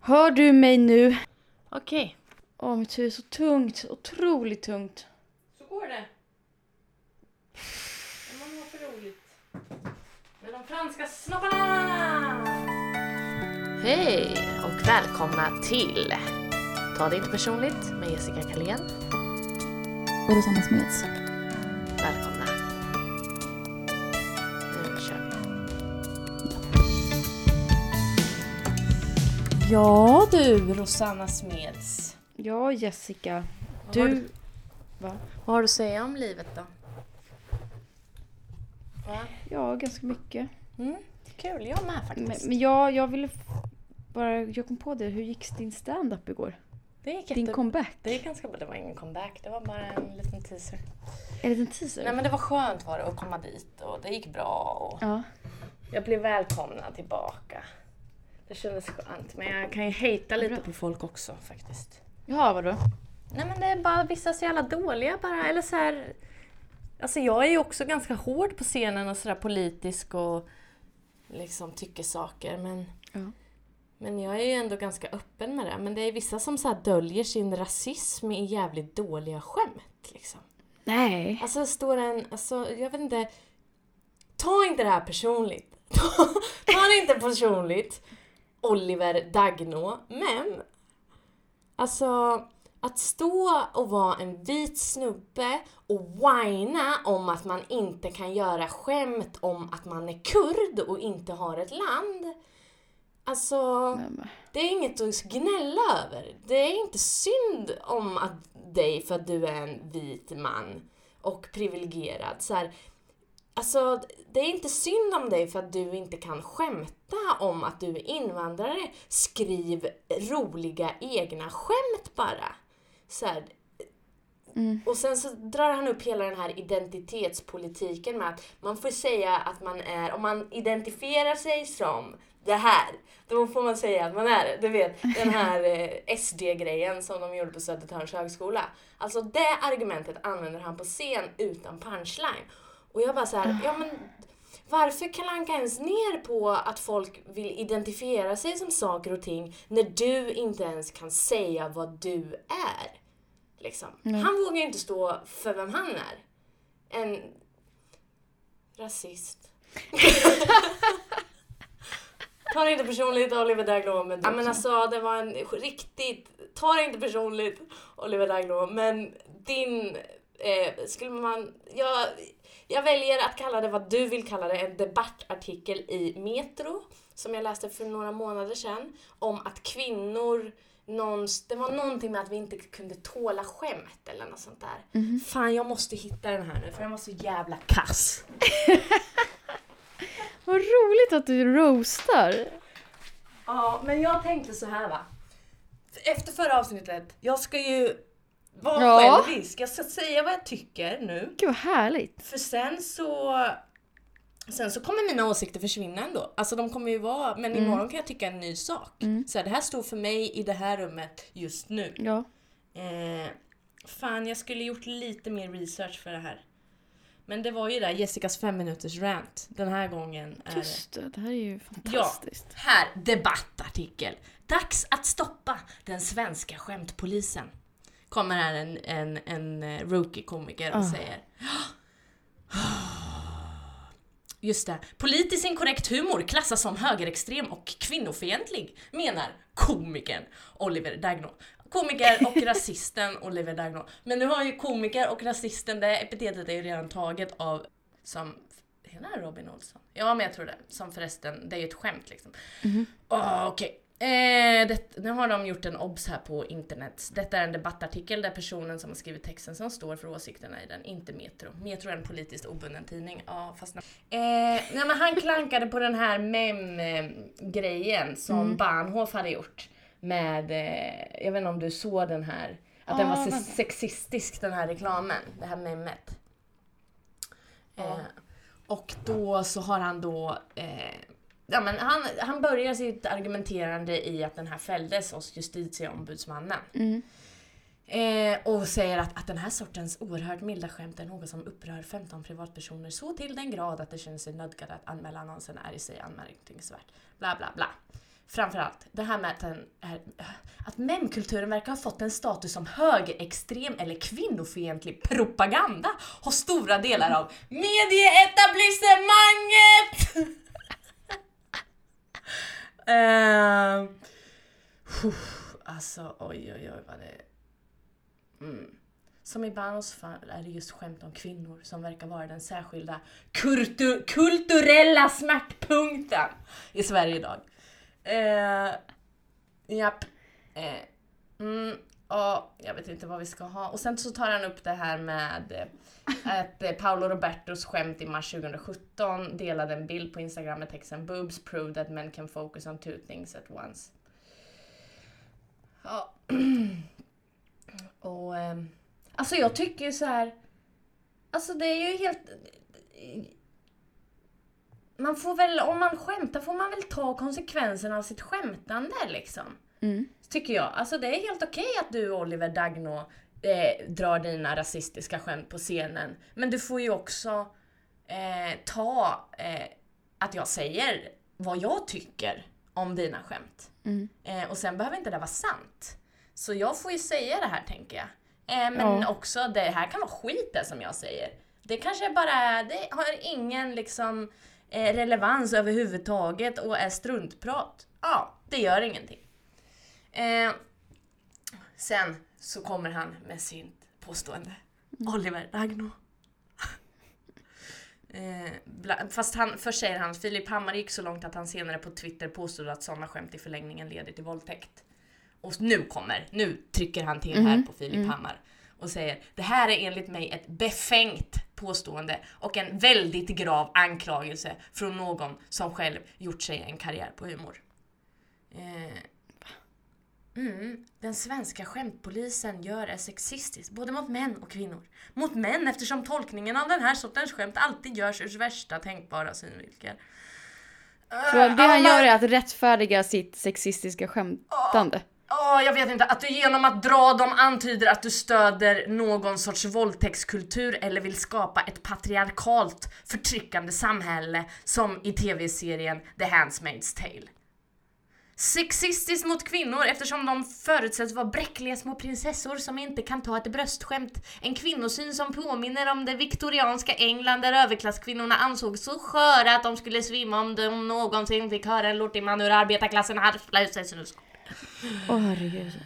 Hör du mig nu? Okej. Åh, oh, mitt huvud är så tungt. Otroligt tungt. Så går det. När man har för roligt. Med de franska snopparna! Hej och välkomna till Ta det inte personligt med Jessica Kalén. Och Rosanna Smeds. Välkomna. Nu kör vi. Ja du, Rosanna Smeds. Ja, Jessica. Vad har Du... Vad har du att säga om livet då? Va? Ja, ganska mycket. Mm, kul, jag med Men, faktiskt. men ja, jag ville f- bara... Jag kom på det. Hur gick din stand-up igår? det gick Din jätte- comeback? det gick ganska bra. Det var ingen comeback, det var bara en liten teaser. En liten teaser? Nej men det var skönt var det att komma dit och det gick bra och Ja. jag blev välkomnad tillbaka. Det kändes skönt men jag kan ju hejta lite på folk också faktiskt. Ja, vadå? Nej men det är bara vissa så jävla dåliga bara eller så här. Alltså jag är ju också ganska hård på scenen och sådär politisk och liksom tycker saker men Ja. Men jag är ju ändå ganska öppen med det. Men det är vissa som så här döljer sin rasism i jävligt dåliga skämt liksom. Nej. Alltså står en, alltså jag vet inte. Ta inte det här personligt. Ta, ta det inte personligt. Oliver Dagnå. Men. Alltså. Att stå och vara en vit snubbe och whina om att man inte kan göra skämt om att man är kurd och inte har ett land. Alltså. Nej, men. Det är inget att gnälla över. Det är inte synd om att dig för att du är en vit man och privilegierad. Så här, alltså, det är inte synd om dig för att du inte kan skämta om att du är invandrare. Skriv roliga egna skämt bara. Så här, Mm. och sen så drar han upp hela den här identitetspolitiken med att man får säga att man är, om man identifierar sig som det här, då får man säga att man är det. Du vet, den här eh, SD-grejen som de gjorde på Södertörns högskola. Alltså det argumentet använder han på scen utan punchline. Och jag bara så här, ja men varför klankar ens ner på att folk vill identifiera sig som saker och ting när du inte ens kan säga vad du är? Liksom. Han vågar ju inte stå för vem han är. En rasist. Ta det inte personligt Oliver Daglom. Men, ja, men alltså det var en riktigt, ta det inte personligt Oliver Daglom. Men din, eh, skulle man, jag, jag väljer att kalla det vad du vill kalla det, en debattartikel i Metro som jag läste för några månader sedan om att kvinnor någons, det var någonting med att vi inte kunde tåla skämt eller något sånt där. mhm. Fan, jag måste hitta den här nu för den var så jävla kass. Vad roligt att du roastar. Ja, men jag tänkte så här va. Efter förra avsnittet, jag ska ju vara Ja. självisk. Jag ska säga vad jag tycker nu. Gud, vad härligt. För sen så... Sen så kommer mina åsikter försvinna ändå. Alltså de kommer ju vara... Men imorgon kan jag tycka en ny sak. Så här, det här står för mig i det här rummet just nu. Ja. Eh, fan, jag skulle gjort lite mer research för det här. Men det var ju där Jessicas fem minuters rant. Den här gången är det... Just det, det här är ju fantastiskt. Här, debattartikel. Dags att stoppa den svenska skämtpolisen. Kommer här en, en, en eh, rookie-komiker och säger. "Ah." Just det. Politiskt inkorrekt humor klassas som högerextrem och kvinnofientlig, menar komikern Oliver Dagno. Komiker och rasisten Oliver Dagno. Men nu har ju komiker och rasisten, det epitetet är ju redan taget av som Hela Robin Olsson? Ja, men jag tror det. Som förresten, det är ju ett skämt liksom. Åh, Ah, Okej. Eh, det, nu har de gjort en obs här på internet. Detta är en debattartikel där personen som har skrivit texten som står för åsikterna i den, inte Metro. Metro är en politiskt obunden tidning. Ja, fast... Eh, nej, men han klankade på den här mem-grejen som Bahnhof hade gjort. Med, eh, jag vet inte om du såg den här, att den var Ja, se- vänta. sexistisk den här reklamen, det här memet. Eh, och då så har han då... Eh, ja, men han, han börjar sitt argumenterande i att den här fälldes hos justitieombudsmannen. Mm, Eh, och säger att, att den här sortens oerhört milda skämt är något som upprör 15 privatpersoner så till den grad att det känns sig nödgat att anmäla annonsen är i sig anmärkningsvärt. Bla bla bla. framförallt det här med att, den är, eh, att memkulturen verkar ha fått en status som högerextrem eller kvinnofientlig propaganda hos stora delar av medieetablissemanget! uh, alltså oj oj oj vad det Mm. Som i Banos fall är det just skämt om kvinnor som verkar vara den särskilda kultu- kulturella smärtpunkten i Sverige idag. Eh, japp. Eh, mm, ja, jag vet inte vad vi ska ha. Och sen så tar han upp det här med eh, att eh, Paolo Robertos skämt i mars 2017 delade en bild på Instagram med texten “Boobs prove that men can focus on two things at once”. Ja. Och ehm, alltså jag tycker ju så här. Alltså det är ju helt... Man får väl, om man skämtar får man väl ta konsekvenserna av sitt skämtande liksom. Mm. Tycker jag. Alltså det är helt okej att du Oliver Dagno eh, drar dina rasistiska skämt på scenen. Men du får ju också eh, ta eh, att jag säger vad jag tycker om dina skämt. Mm. Eh, och sen behöver inte det vara sant. Så jag får ju säga det här tänker jag. Eh, men Ja. också, det här kan vara skit det som jag säger. Det kanske är bara, det har ingen liksom eh, relevans överhuvudtaget och är struntprat. Ja, det gör ingenting. Eh, sen så kommer han med sitt påstående. Oliver Ragno. Eh, bla- Fast han, först säger han Filip Hammar gick så långt att han senare på Twitter påstod att sådana skämt i förlängningen leder till våldtäkt. Och nu kommer, nu trycker han till Mhm. här på Mm. Filip Hammar och säger det här är enligt mig ett befängt påstående och en väldigt grav anklagelse från någon som själv gjort sig en karriär på humor. Eh, mm, den svenska skämtpolisen gör är sexistisk både mot män och kvinnor. Mot män eftersom tolkningen av den här sortens skämt alltid görs ur värsta tänkbara synvinkel. Så det Alla- han gör är att rättfärdiga sitt sexistiska skämtande. Ja, jag vet inte. Att du genom att dra dem antyder att du stöder någon sorts våldtäktskultur eller vill skapa ett patriarkalt förtryckande samhälle som i tv-serien The Handmaid's Tale. Sexistiskt mot kvinnor eftersom de förutsätts vara bräckliga små prinsessor som inte kan ta ett bröstskämt. En kvinnosyn som påminner om det viktorianska England där överklasskvinnorna ansågs så sköra att de skulle svimma om de någonsin fick höra en lortig man ur arbetarklassen harfla ut sig snusk. Åh herregud.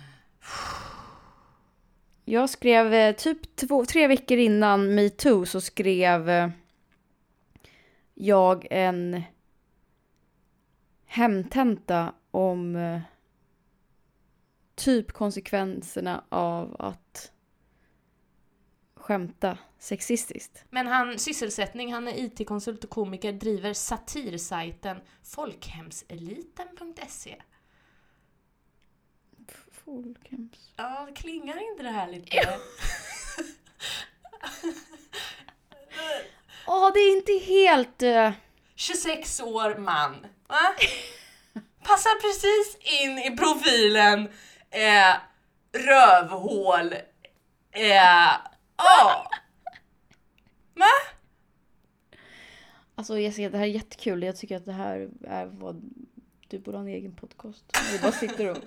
Jag skrev eh, typ två, tre veckor innan metoo så skrev eh, jag en hemtenta om eh, typ konsekvenserna av att skämta sexistiskt. Men han, sysselsättning, han är IT-konsult och komiker, driver satirsajten folkhemseliten.se. Folkhems... Ja, klingar inte det här lite? Åh, det är inte helt... eh, 26 år man. Va? Passar precis in i profilen eh, rövhål. Eh, ja. Va? Alltså Jessica, det här är jättekul. Jag tycker att det här är vad... Du borde ha en egen podcast. Du bara sitter och...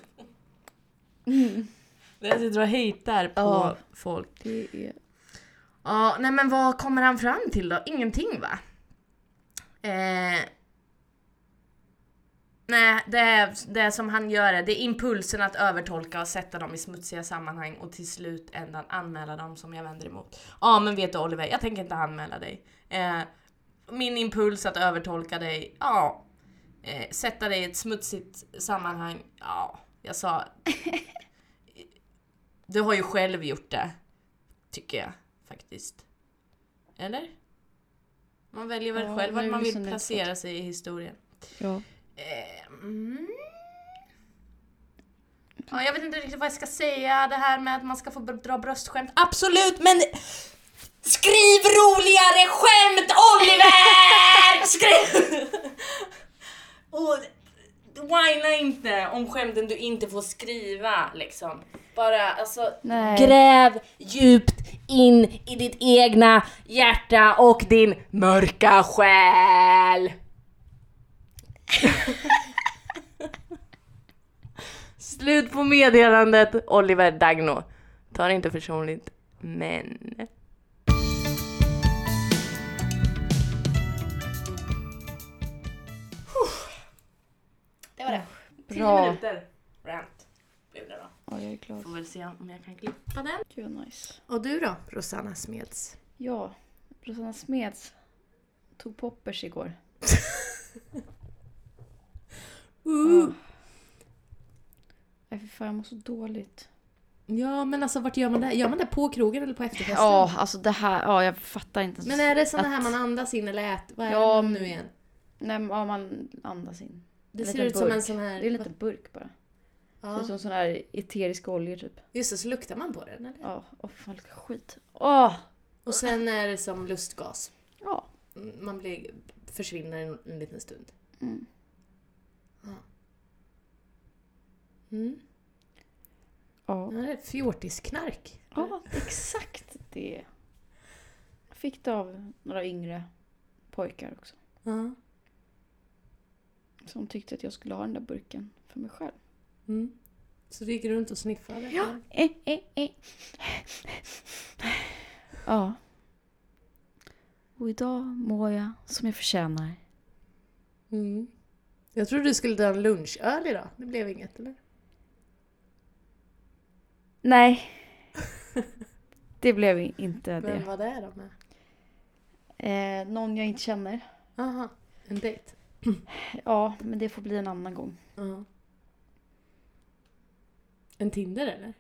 Jag sitter och hejtar på Ja. folk. Det är... Ja, nej men vad kommer han fram till då? Ingenting va? Eh, nej, det, är, det som han gör är, det är impulsen att övertolka och sätta dem i smutsiga sammanhang och till slut ändan anmäla dem som jag vänder emot. Ja, men vet du Oliver, jag tänker inte anmäla dig. Eh, min impuls att övertolka dig, ja. Eh, sätta dig i ett smutsigt sammanhang, ja. Jag sa... Du har ju själv gjort det tycker jag faktiskt. Eller? Man väljer väl Ja, själv nu vart är man det vill så nedsatt. placera sig i historien. Ja. Eh, Mm. Ja, jag vet inte riktigt vad jag ska säga, det här med att man ska få br- dra bröstskämt. Absolut, men skriv roligare skämt Oliver! Skriv! Och whina inte om skämten du inte får skriva liksom. Bara alltså, Nej. gräv djupt in i ditt egna hjärta och din mörka själ. Slut på meddelandet Oliver Dagno. Ta det inte personligt, men... Det var det. Bra. minuter rant blev det då. Ja, jag är glad. Får väl se om jag kan klippa den. Gud vad nice. Och du då, Rosanna Smeds? Ja, Rosanna Smeds tog poppers igår. Uh. Ja. Nej fy fan, jag mår så dåligt. Ja, men alltså vart gör man det? Gör man det på krogen eller på efterfesten? Ja, alltså det här, ja jag fattar inte. Men är det såna här man andas in eller äter? Vad är Ja, det men- nu igen? Nej, men, ja, man andas in. Det en ser liten ut som burk. en sån Det här... är en liten burk bara. Det är ja. som sån här eterisk olja typ. Just det, så luktar man på den eller? Ja, åh fan vilken skit. Åh! Och sen är det som lustgas. Ja. Mm, Man blir, försvinner en, en liten stund. Mm. Ja. Mm. Ja. Det här är ett fjortisknark. ja, exakt det. Jag fick det av några yngre pojkar också. Ja. Som tyckte att jag skulle ha den där burken för mig själv. Mm. Så du gick runt och sniffade? Ja. Eh, eh, eh. Ja. Och idag mår jag som jag förtjänar. Mm. Jag trodde du skulle dra en lunchöl idag. Det blev inget eller? Nej. Det blev inte Vem det. var det då med? Eh, någon jag inte känner. Aha, en dejt? Ja, men det får bli en annan gång. Ja. En Tinder eller?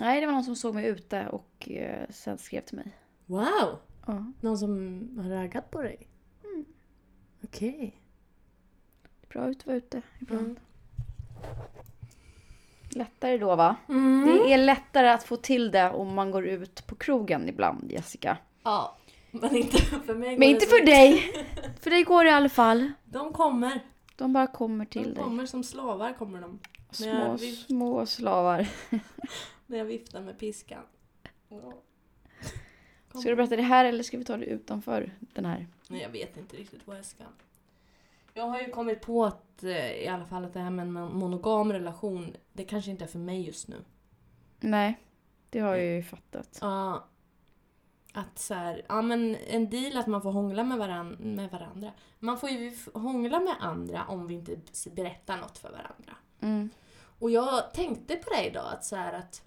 Nej, det var någon som såg mig ute och eh, sen skrev till mig. Wow! Ja, Någon som har raggat på dig? Mm. Okej. det är bra ut att vara ute ibland. Mm. Lättare då va? Det är lättare att få till det om man går ut på krogen ibland, Jessica. Ja, men inte för mig. går Men inte det för så. dig! För dig går det i alla fall. De kommer. De bara kommer De till dig. kommer som slavar kommer de. Små, Ja, visst. små slavar. När jag viftar med piskan. Ja. Kom. Ska du berätta det här eller ska vi ta det utanför den här? Nej, jag vet inte riktigt vad jag ska. Jag har ju kommit på att eh, i alla fall att det här med en monogam relation, det kanske inte är för mig just nu. Nej, det har jag ju fattat. Ja. Ah, Att så här, ja men en deal att man får hångla med, varan, med varandra. Man får ju f- hångla med andra om vi inte s- berättar något för varandra. Mm. Och jag tänkte på det idag att så här att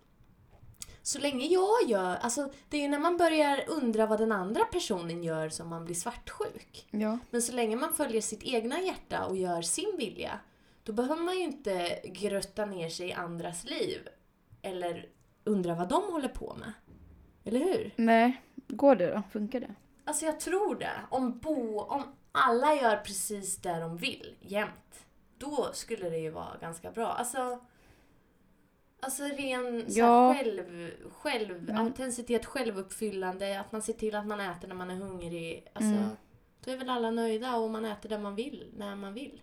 så länge jag gör, alltså det är ju när man börjar undra vad den andra personen gör som man blir svartsjuk. Ja. Men så länge man följer sitt egna hjärta och gör sin vilja, då behöver man ju inte grötta ner sig i andras liv. Eller undra vad de håller på med. Eller hur? Nej, går det då? Funkar det? Alltså jag tror det. Om, bo, om alla gör precis det de vill, jämt, då skulle det ju vara ganska bra. Alltså, alltså ren så här, Ja. själv, själv, Men- autenticitet, självuppfyllande, att man ser till att man äter när man är hungrig. Alltså, Mm. Då är väl alla nöjda och man äter det man vill, när man vill.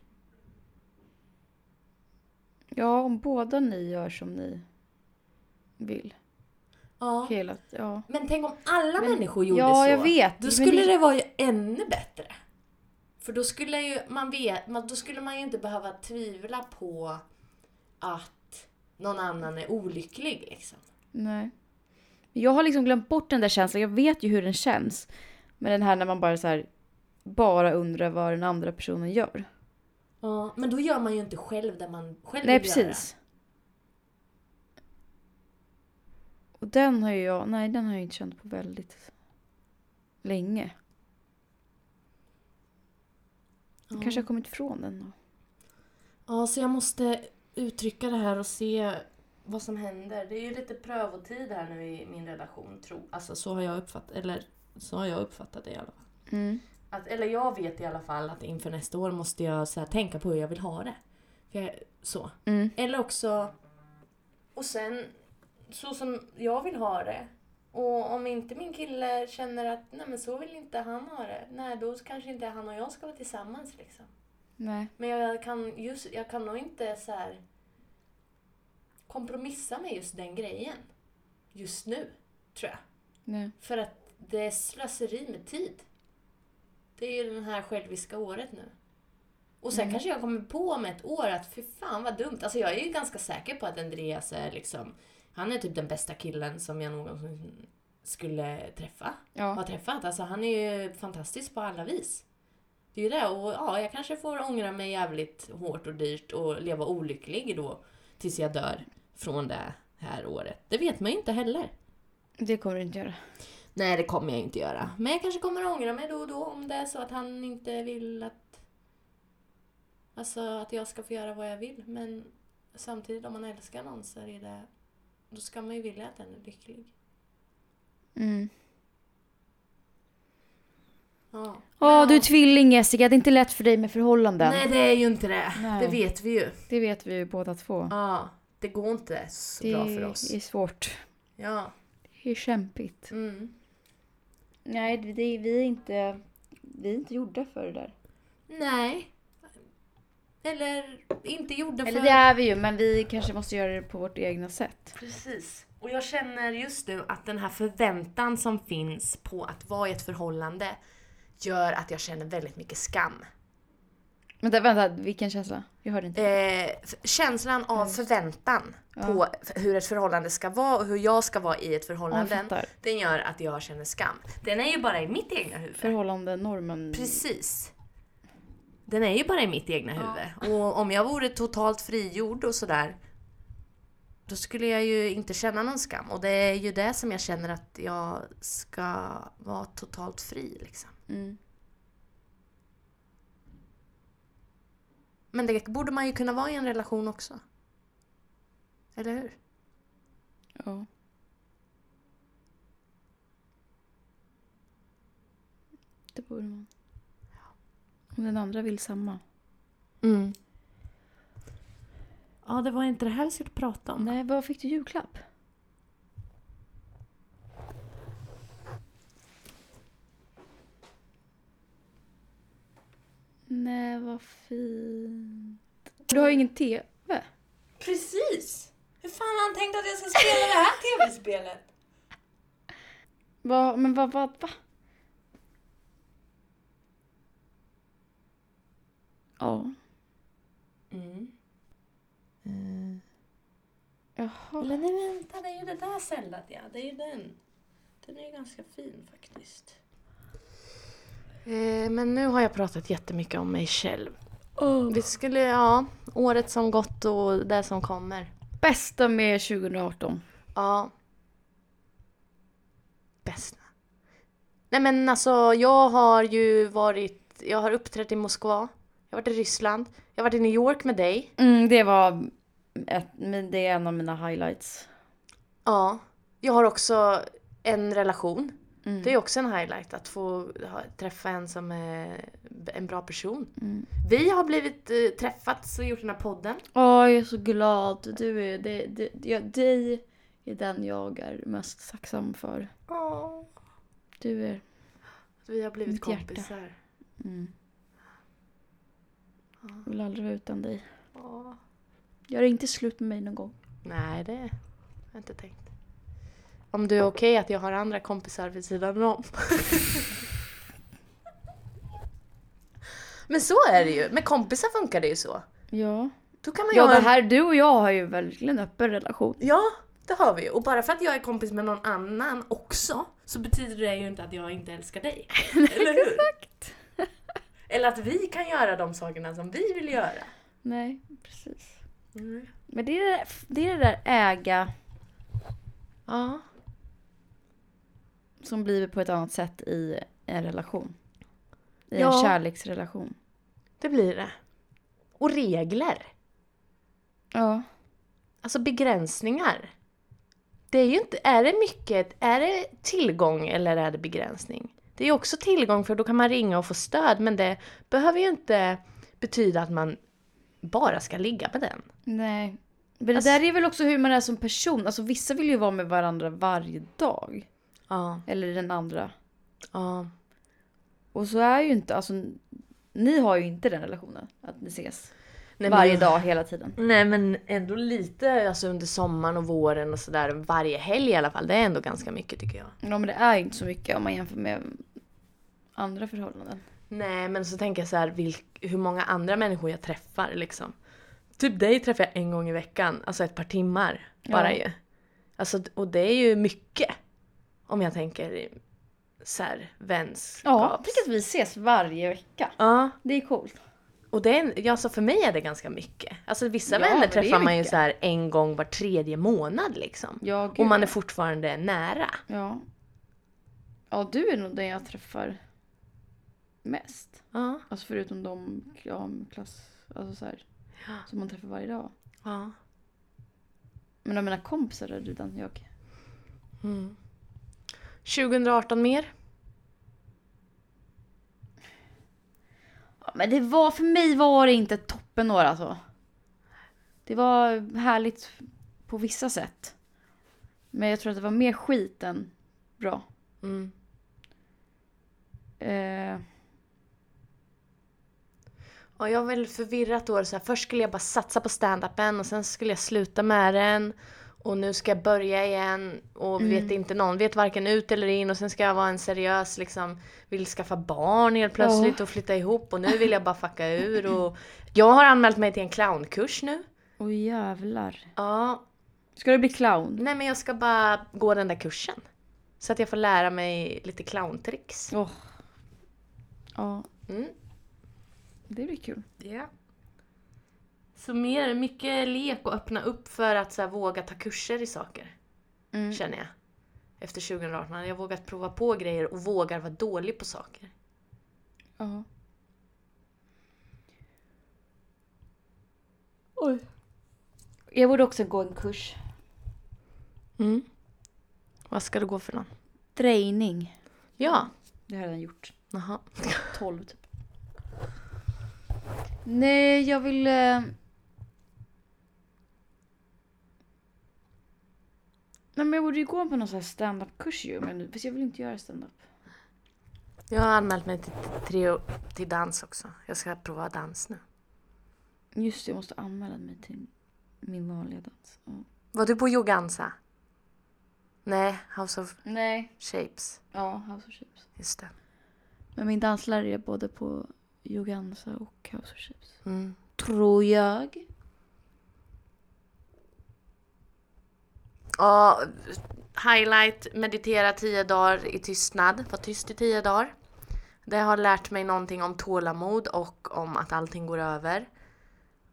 Ja, om båda ni gör som ni vill. Ja. Hela, ja. Men tänk om alla Men- människor gjorde ja, så. jag vet. Då Men skulle det- det vara ju ännu bättre. För då skulle ju man vet, man- då skulle man ju inte behöva tvivla på att någon annan är olycklig liksom. Nej. Jag har liksom glömt bort den där känslan. Jag vet ju hur den känns. Men den här när man bara så här, bara undrar vad den andra personen gör. Ja, men då gör man ju inte själv det man själv Nej, vill göra. precis. Och den har ju jag, nej den har jag inte känt på väldigt länge. Jag kanske har kommit ifrån den då. Ja, så jag måste uttrycka det här och se vad som händer. Det är ju lite prövotid här nu i min relation, tro. Alltså så har jag uppfattat, eller så har jag uppfattat det i alla fall. Mm. Att, eller jag vet i alla fall att inför nästa år måste jag så här, tänka på hur jag vill ha det. För jag, så. Mm. Eller också... Och sen, så som jag vill ha det. Och om inte min kille känner att nej men så vill inte han ha det. Nej, då kanske inte han och jag ska vara tillsammans liksom. Nej. Men jag kan, just, jag kan nog inte så här kompromissa med just den grejen. Just nu, tror jag. nej. För att det är slöseri med tid. Det är ju det här själviska året nu. Och sen kanske jag kommer på om ett år att fy fan vad dumt. Alltså jag är ju ganska säker på att Andreas är liksom, han är typ den bästa killen som jag någonsin skulle träffa. Ja. Har träffat. Alltså han är ju fantastisk på alla vis. Det är ju det. Och ja, jag kanske får ångra mig jävligt hårt och dyrt och leva olycklig då tills jag dör från det här året. Det vet man ju inte heller. Det kommer du inte göra. Nej, det kommer jag inte göra. Men jag kanske kommer ångra mig då och då om det är så att han inte vill att... Alltså att jag ska få göra vad jag vill. Men samtidigt om man älskar någon så är det... Då ska man ju vilja att den är lycklig. Mm. Ja. Åh, Men- du är tvilling Jessica. Det är inte lätt för dig med förhållanden. Nej, det är ju inte det. Nej. Det vet vi ju. Det vet vi ju båda två. Ja, det går inte så det bra för oss. är svårt. Ja. Det är kämpigt. Mm. Nej, det, vi, är inte, vi är inte gjorda för det där. Nej. Eller inte gjorda för... Eller det är vi ju, men vi kanske måste göra det på vårt egna sätt. Precis. Och jag känner just nu att den här förväntan som finns på att vara i ett förhållande gör att jag känner väldigt mycket skam. Vänta, vänta, vilken känsla? Jag hörde inte. Eh, f- känslan av Mm. förväntan på f- hur ett förhållande ska vara och hur jag ska vara i ett Ja, jag förhållande, fattar. den gör att jag känner skam. Den är ju bara i mitt egna huvud. Förhållande, normen. Precis. Den är ju bara i mitt egna huvud. Och om jag vore totalt frigjord och sådär, då skulle jag ju inte känna någon skam. Och det är ju det som jag känner att jag ska vara totalt fri liksom. Mm. Men det borde man ju kunna vara i en relation också. Eller hur? Ja. Det borde man. Om den andra vill samma. Mm. Ja, det var inte det här vi skulle prata om. Nej, vad fick du i julklapp? Nej, vad fint. Du har ju ingen TV. Precis! Hur fan har han tänkt att jag ska spela det här tv-spelet? Va, men vad, vad, va? Ja. Mm. Eh. Jaha. Eller nej vänta, det är ju det där sällat ja. Det är ju den. Den är ju ganska fin faktiskt. Eh, men nu har jag pratat jättemycket om mig själv. Vi skulle, ja, året som gått och det som kommer. Bästa med 2018. Ja. Bästa. Nej men alltså jag har ju varit, jag har uppträtt i Moskva. Jag har varit i Ryssland. Jag har varit i New York med dig. Mm, det var ett, men det är en av mina highlights. Ja. Jag har också en relation. Mm. Det är också en highlight att få ha, träffa en som är en bra person. Mm. Vi har blivit eh, träffats och gjort den här podden. Åh, jag är så glad. Du är, det, det, jag, dig är den jag är mest tacksam för. Du är... Vi har blivit Mitt hjärta. kompisar. Mm. Jag vill aldrig vara utan dig. Ja. Gör inte slut med mig någon gång. Nej, det har jag inte tänkt. Om du är okej att jag har andra kompisar vid sidan om. Men så är det ju. Med kompisar funkar det ju så. Ja. Då kan man ju Ja, ha det en- här, du och jag har ju verkligen öppen relation. Ja, det har vi ju. Och bara för att jag är kompis med någon annan också så betyder det ju inte att jag inte älskar dig. Eller hur? Exakt. Eller att vi kan göra de sakerna som vi vill göra. Mm. Nej, precis. Men det är det, är det där äga Ja. som blir på ett annat sätt i en relation. I Ja. en kärleksrelation. Det blir det. Och regler. Ja. Alltså begränsningar. Det är ju inte... Är det mycket... Är det tillgång eller är det begränsning? Det är ju också tillgång för då kan man ringa och få stöd men det behöver ju inte betyda att man bara ska ligga med den. Nej. Men Alltså- det där är väl också hur man är som person. Alltså vissa vill ju vara med varandra varje dag. Ja. Eller den andra. Ja. Och så är ju inte, alltså ni har ju inte den relationen. Att ni ses Nej, men- varje dag hela tiden. Nej men ändå lite alltså under sommaren och våren och sådär varje helg i alla fall. Det är ändå ganska mycket tycker jag. Ja men det är ju inte så mycket om man jämför med andra förhållanden. Nej, men så tänker jag så här, vilk, hur många andra människor jag träffar liksom. Typ dig träffar jag en gång i veckan, alltså ett par timmar bara Ja. ju. Alltså, och det är ju mycket. Om jag tänker i- så här, vänskap. Ja, tänk att vi ses varje vecka. Ja, Det är coolt. och det är, en- ja, så för mig är det ganska mycket. Alltså vissa Ja, vänner men det är träffar man ju mycket. så här en gång var tredje månad liksom. Ja, gud. Och man är fortfarande nära. Ja. Ja, du är nog den jag träffar mest. Ja, Alltså förutom de kramklass... Alltså så här, som man träffar varje dag. ja. Men av mina kompisar är du den jag... Mm. 2018 mer? Ja, men det var, för mig var det inte toppen år alltså. Det var härligt på vissa sätt. Men jag tror att det var mer skit än bra. Mm. Eh, Ja, jag var väldigt förvirrat år. Så här, först skulle jag bara satsa på stand-upen och sen skulle jag sluta med den. Och nu ska jag börja igen och vet inte någon, vet varken ut eller in och sen ska jag vara en seriös liksom, vill skaffa barn helt plötsligt och flytta ihop och nu vill jag bara fucka ur och jag har anmält mig till en clownkurs nu. Åh jävlar. Ja, Ska du bli clown? nej men jag ska bara gå den där kursen. Så att jag får lära mig lite clowntricks. Åh. Ja, Mm. det blir kul. Ja. Så mer, mycket lek och öppna upp för att så här, våga ta kurser i saker. Mm. Känner jag. Efter 2018 hade jag vågat prova på grejer och vågar vara dålig på saker. Ja. Oj. Jag borde också gå en kurs. Mm. Vad ska du gå för någon? Drejning. Ja. Det har jag redan gjort. Jaha. 12 typ. Nej, jag vill... eh, Nej men jag borde ju gå på någon sån här standup-kurs ju. Men fast jag vill inte göra standup. Jag har anmält mig till, till, till dans också. Jag ska prova dans nu. Just det, jag måste anmäla mig till min vanliga dans. Ja. Var du på Yogansa? Nej, House of Nej. Shapes. Ja, House of Chips. Just det. Men min danslärare är både på Yogansa och House of Chips. Mm. Tror jag. Ja, highlight, meditera tio dagar i tystnad. Var tyst i tio dagar. Det har lärt mig någonting om tålamod och om att allting går över.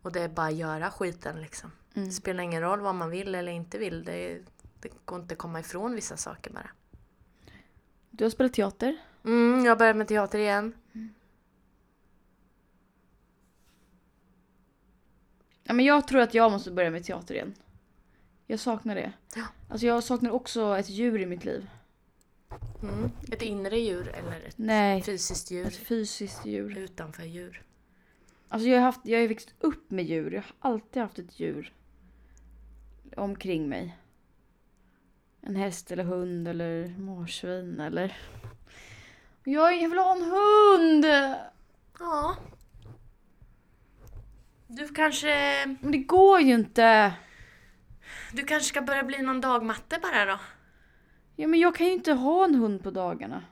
Och det är bara att göra skiten liksom. Det spelar ingen roll vad man vill eller inte vill. Det, det går inte att komma ifrån vissa saker bara. Du har spelat teater. Mm, jag börjar med teater igen. Ja, men jag tror att jag måste börja med teater igen. Jag saknar det. Ja. Alltså jag saknar också ett djur i mitt liv. Mm. Ett inre djur eller ett Nej. fysiskt Ett djur fysiskt djur. utanför djur. Alltså jag har, haft, jag har ju växt upp med djur. Jag har alltid haft ett djur. Omkring mig. En häst eller hund eller marsvin eller... Jag, jag vill ha en hund! Ja. Du kanske Men det går ju inte! Du kanske ska börja bli någon dagmatte bara då? Ja men jag kan ju inte ha en hund på dagarna.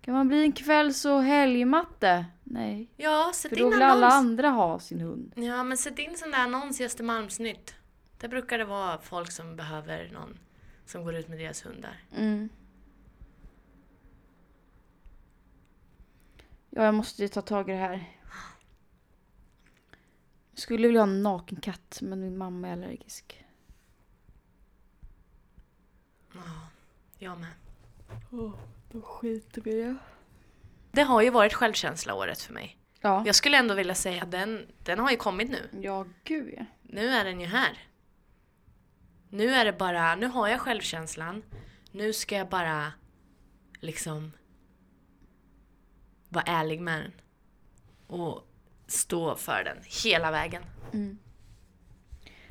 Kan man bli en kvälls och helgmatte? Nej. Ja, sätt För in då vill annons. alla andra ha sin hund. Ja, men sätt in sån där annons i Östermalmsnytt. Där brukar det vara folk som behöver någon som går ut med deras hundar. Mm. Ja, jag måste ju ta tag i det här. Jag skulle vilja ha en naken katt, men min mamma är allergisk. Ja, jag med. Då skiter vi det. Det har ju varit självkänsla året för mig. Ja. Jag skulle ändå vilja säga att den, den har ju kommit nu. Ja, gud ja. Nu är den ju här. Nu är det bara, nu har jag självkänslan. Nu ska jag bara liksom vara ärlig med den. Och stå för den hela vägen.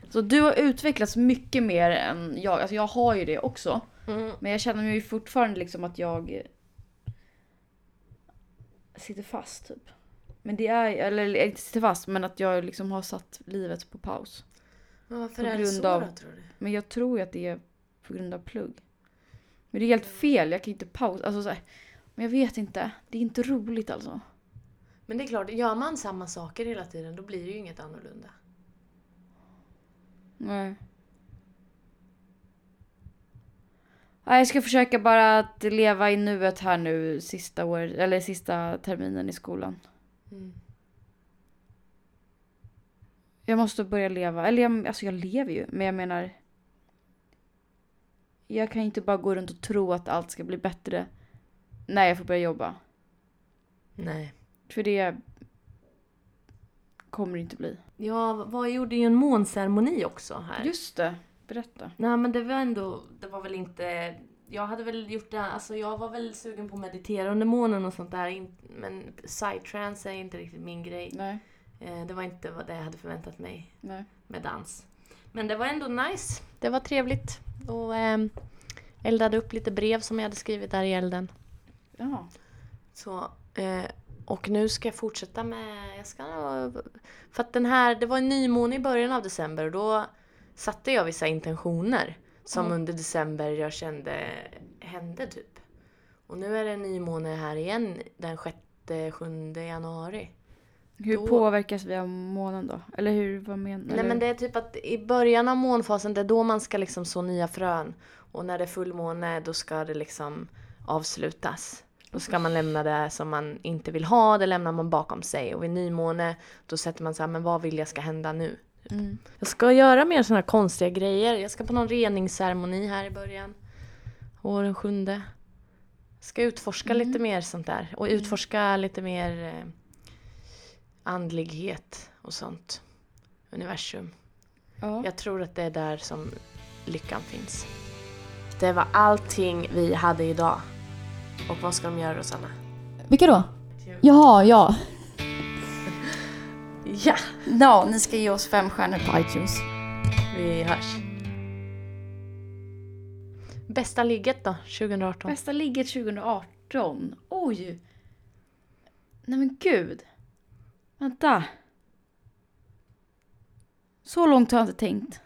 Så du har utvecklats mycket mer än jag. Alltså jag har ju det också. Mm. Men jag känner mig ju fortfarande liksom att jag sitter fast typ. Men det är, eller inte sitter fast, men att jag liksom har satt livet på paus. Men varför På är det så grund av- då tror du? Men jag tror ju att det är på grund av plugg. Men det är helt fel, jag kan inte pausa. Alltså, så här, men jag vet inte. Det är inte roligt alltså. Men det är klart, gör man samma saker hela tiden då blir det ju inget annorlunda. Nej. Ja, Jag ska försöka bara att leva i nuet här nu sista, år, eller sista terminen i skolan. Mm. Jag måste börja leva. Eller jag, alltså jag lever ju, men jag menar... Jag kan inte bara gå runt och tro att allt ska bli bättre när jag får börja jobba. Nej. För det kommer det inte bli. Ja, vad gjorde ju en månceremoni också här. Just det, berätta. Nej men det var ändå, det var väl inte, jag hade väl gjort det, alltså jag var väl sugen på att meditera under månen och sånt där, in- men psytrance är inte riktigt min grej. Nej, Eh, Det var inte vad det jag hade förväntat mig nej. med dans. Men det var ändå nice, det var trevligt. Och ehm, eldade upp lite brev som jag hade skrivit där i elden. Ja. Så, eh, och nu ska jag fortsätta med... Jag ska, nog- för att den här, det var en nymåne i början av december och då satte jag vissa intentioner som under december jag kände hände typ. Och nu är det en nymåne här igen den 6-7 januari. Hur Då- påverkas vi av månen då? Eller hur, vad menar Nej du? men det är typ att i början av månfasen det är då man ska liksom så nya frön. Och när det är fullmåne då ska det liksom avslutas. Då ska man lämna det som man inte vill ha, det lämnar man bakom sig. Och vid nymåne då sätter man så här, men vad vill jag ska hända nu? Mm. Jag ska göra mer sådana här konstiga grejer. Jag ska på någon reningsceremoni här i början. Och den sjunde. Ska utforska lite mer sånt där. Och utforska lite mer eh, andlighet och sånt. Universum. Ja. Jag tror att det är där som lyckan finns. Det var allting vi hade idag. Och vad ska de göra Rosanna? Vilka då? Jaha, ja. Ja, Ja, ni ska ge oss fem stjärnor på iTunes. vi hörs. Bästa ligget då, 2018? Bästa ligget 2018. Oj! Nej men gud. Vänta. Så långt har jag inte tänkt.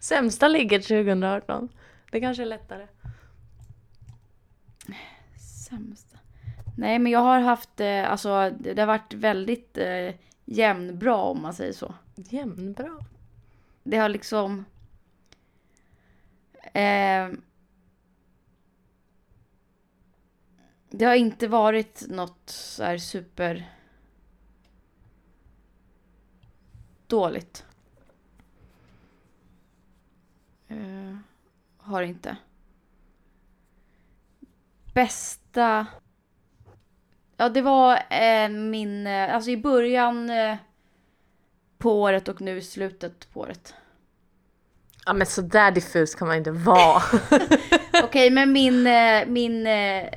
Sämsta ligget 2018? Det kanske är lättare. Sämsta. Nej men jag har haft, eh, alltså det det har varit väldigt eh, jämnbra om man säger så. Jämnbra. Det har liksom... Eh, det har inte varit något så här super... Dåligt. Eh, har inte. Bästa... Ja, det var eh, min... Eh, alltså i början eh, på året och nu i slutet på året. Ja men sådär diffus kan man inte vara. Okej, men min, eh, min eh,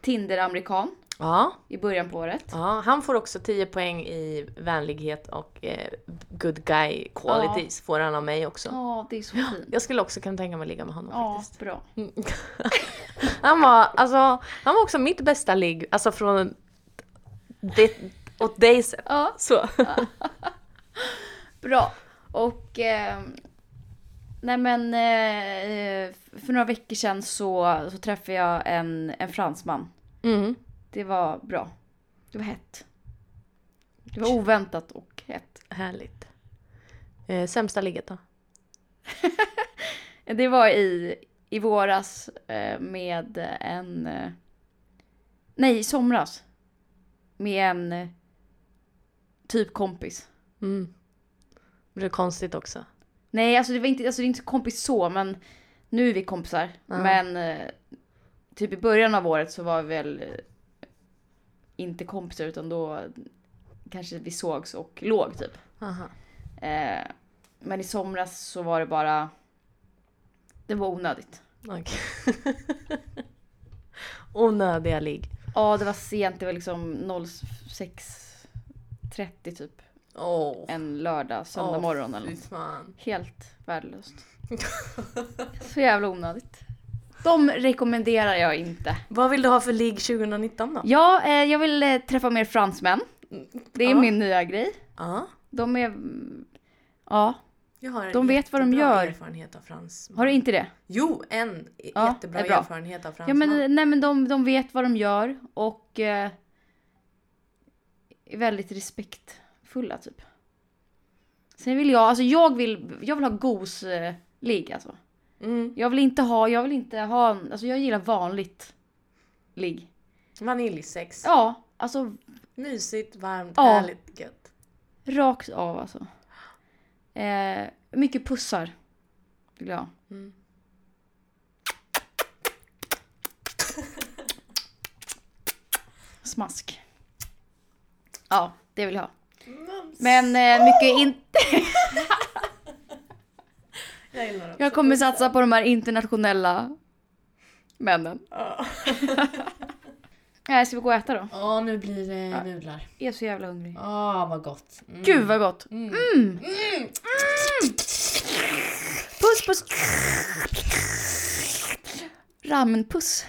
Tinder-amerikan ja, i början på året. ja, han får också 10 poäng i vänlighet och eh, good guy qualities får han av mig också. Ja, det är så fint. Jag skulle också kunna tänka mig att ligga med honom Ja, faktiskt. Mm. bra. Han var, alltså, han var också mitt bästa ligg, alltså från det, åt dig sett. Ja, Så. bra. Och... Eh, nej men, eh, för några veckor sedan så, så träffade jag en, en fransman. Mm. Det var bra. Det var hett. Det var oväntat och hett. Härligt. Eh, sämsta ligget då? Det var i, i våras eh, med en... eh, Nej, i somras. Med en eh, typ kompis. Mm. Det är konstigt också. Nej, alltså det var inte, alltså det är inte kompis så, men nu är vi kompisar. Ja. Men eh, typ i början av året så var vi väl eh, inte kompisar utan då kanske vi sågs och låg typ. Aha. Eh, men i somras så var det bara... Det var onödigt. Okej. Onödiga ligg. Ja, det var sent. Det var liksom 06.30 typ. Åh. En lördag, söndag Åh, morgon eller Fy något. fan. Helt värdelöst. Så jävla onödigt. De rekommenderar jag inte. Vad vill du ha för ligg 2019 då? Ja, eh, jag vill eh, träffa mer fransmän. Det är Ja. min nya grej. Ja. De är... Ja. Jag har en De vet vad de jättebra gör. erfarenhet av fransman. Har du inte det? Jo, en i- Ja, jättebra är bra. erfarenhet av Ja fransman. men, nej, men de, de vet vad de gör och eh, är väldigt respektfulla typ. Sen vill jag, alltså jag vill, jag vill ha gos-ligg alltså. Mm. Jag vill inte ha, jag vill inte ha, en- alltså jag gillar vanligt ligg. Vaniljsex. Ja, alltså Mysigt, varmt, Ja. härligt, gött. rakt av alltså. Eh, mycket pussar. Vill jag ha. Mm. Smask. Ja, det vill jag ha. Men eh, mycket in- Jag gillar också. Jag kommer satsa på de här internationella männen. Ja. Nej, Eh, ska vi gå och äta då? Ja, nu blir det nudlar. Jag är så jävla hungrig. Ah, vad gott. Mm. Gud vad gott! Mm. Puss puss! Ramenpuss.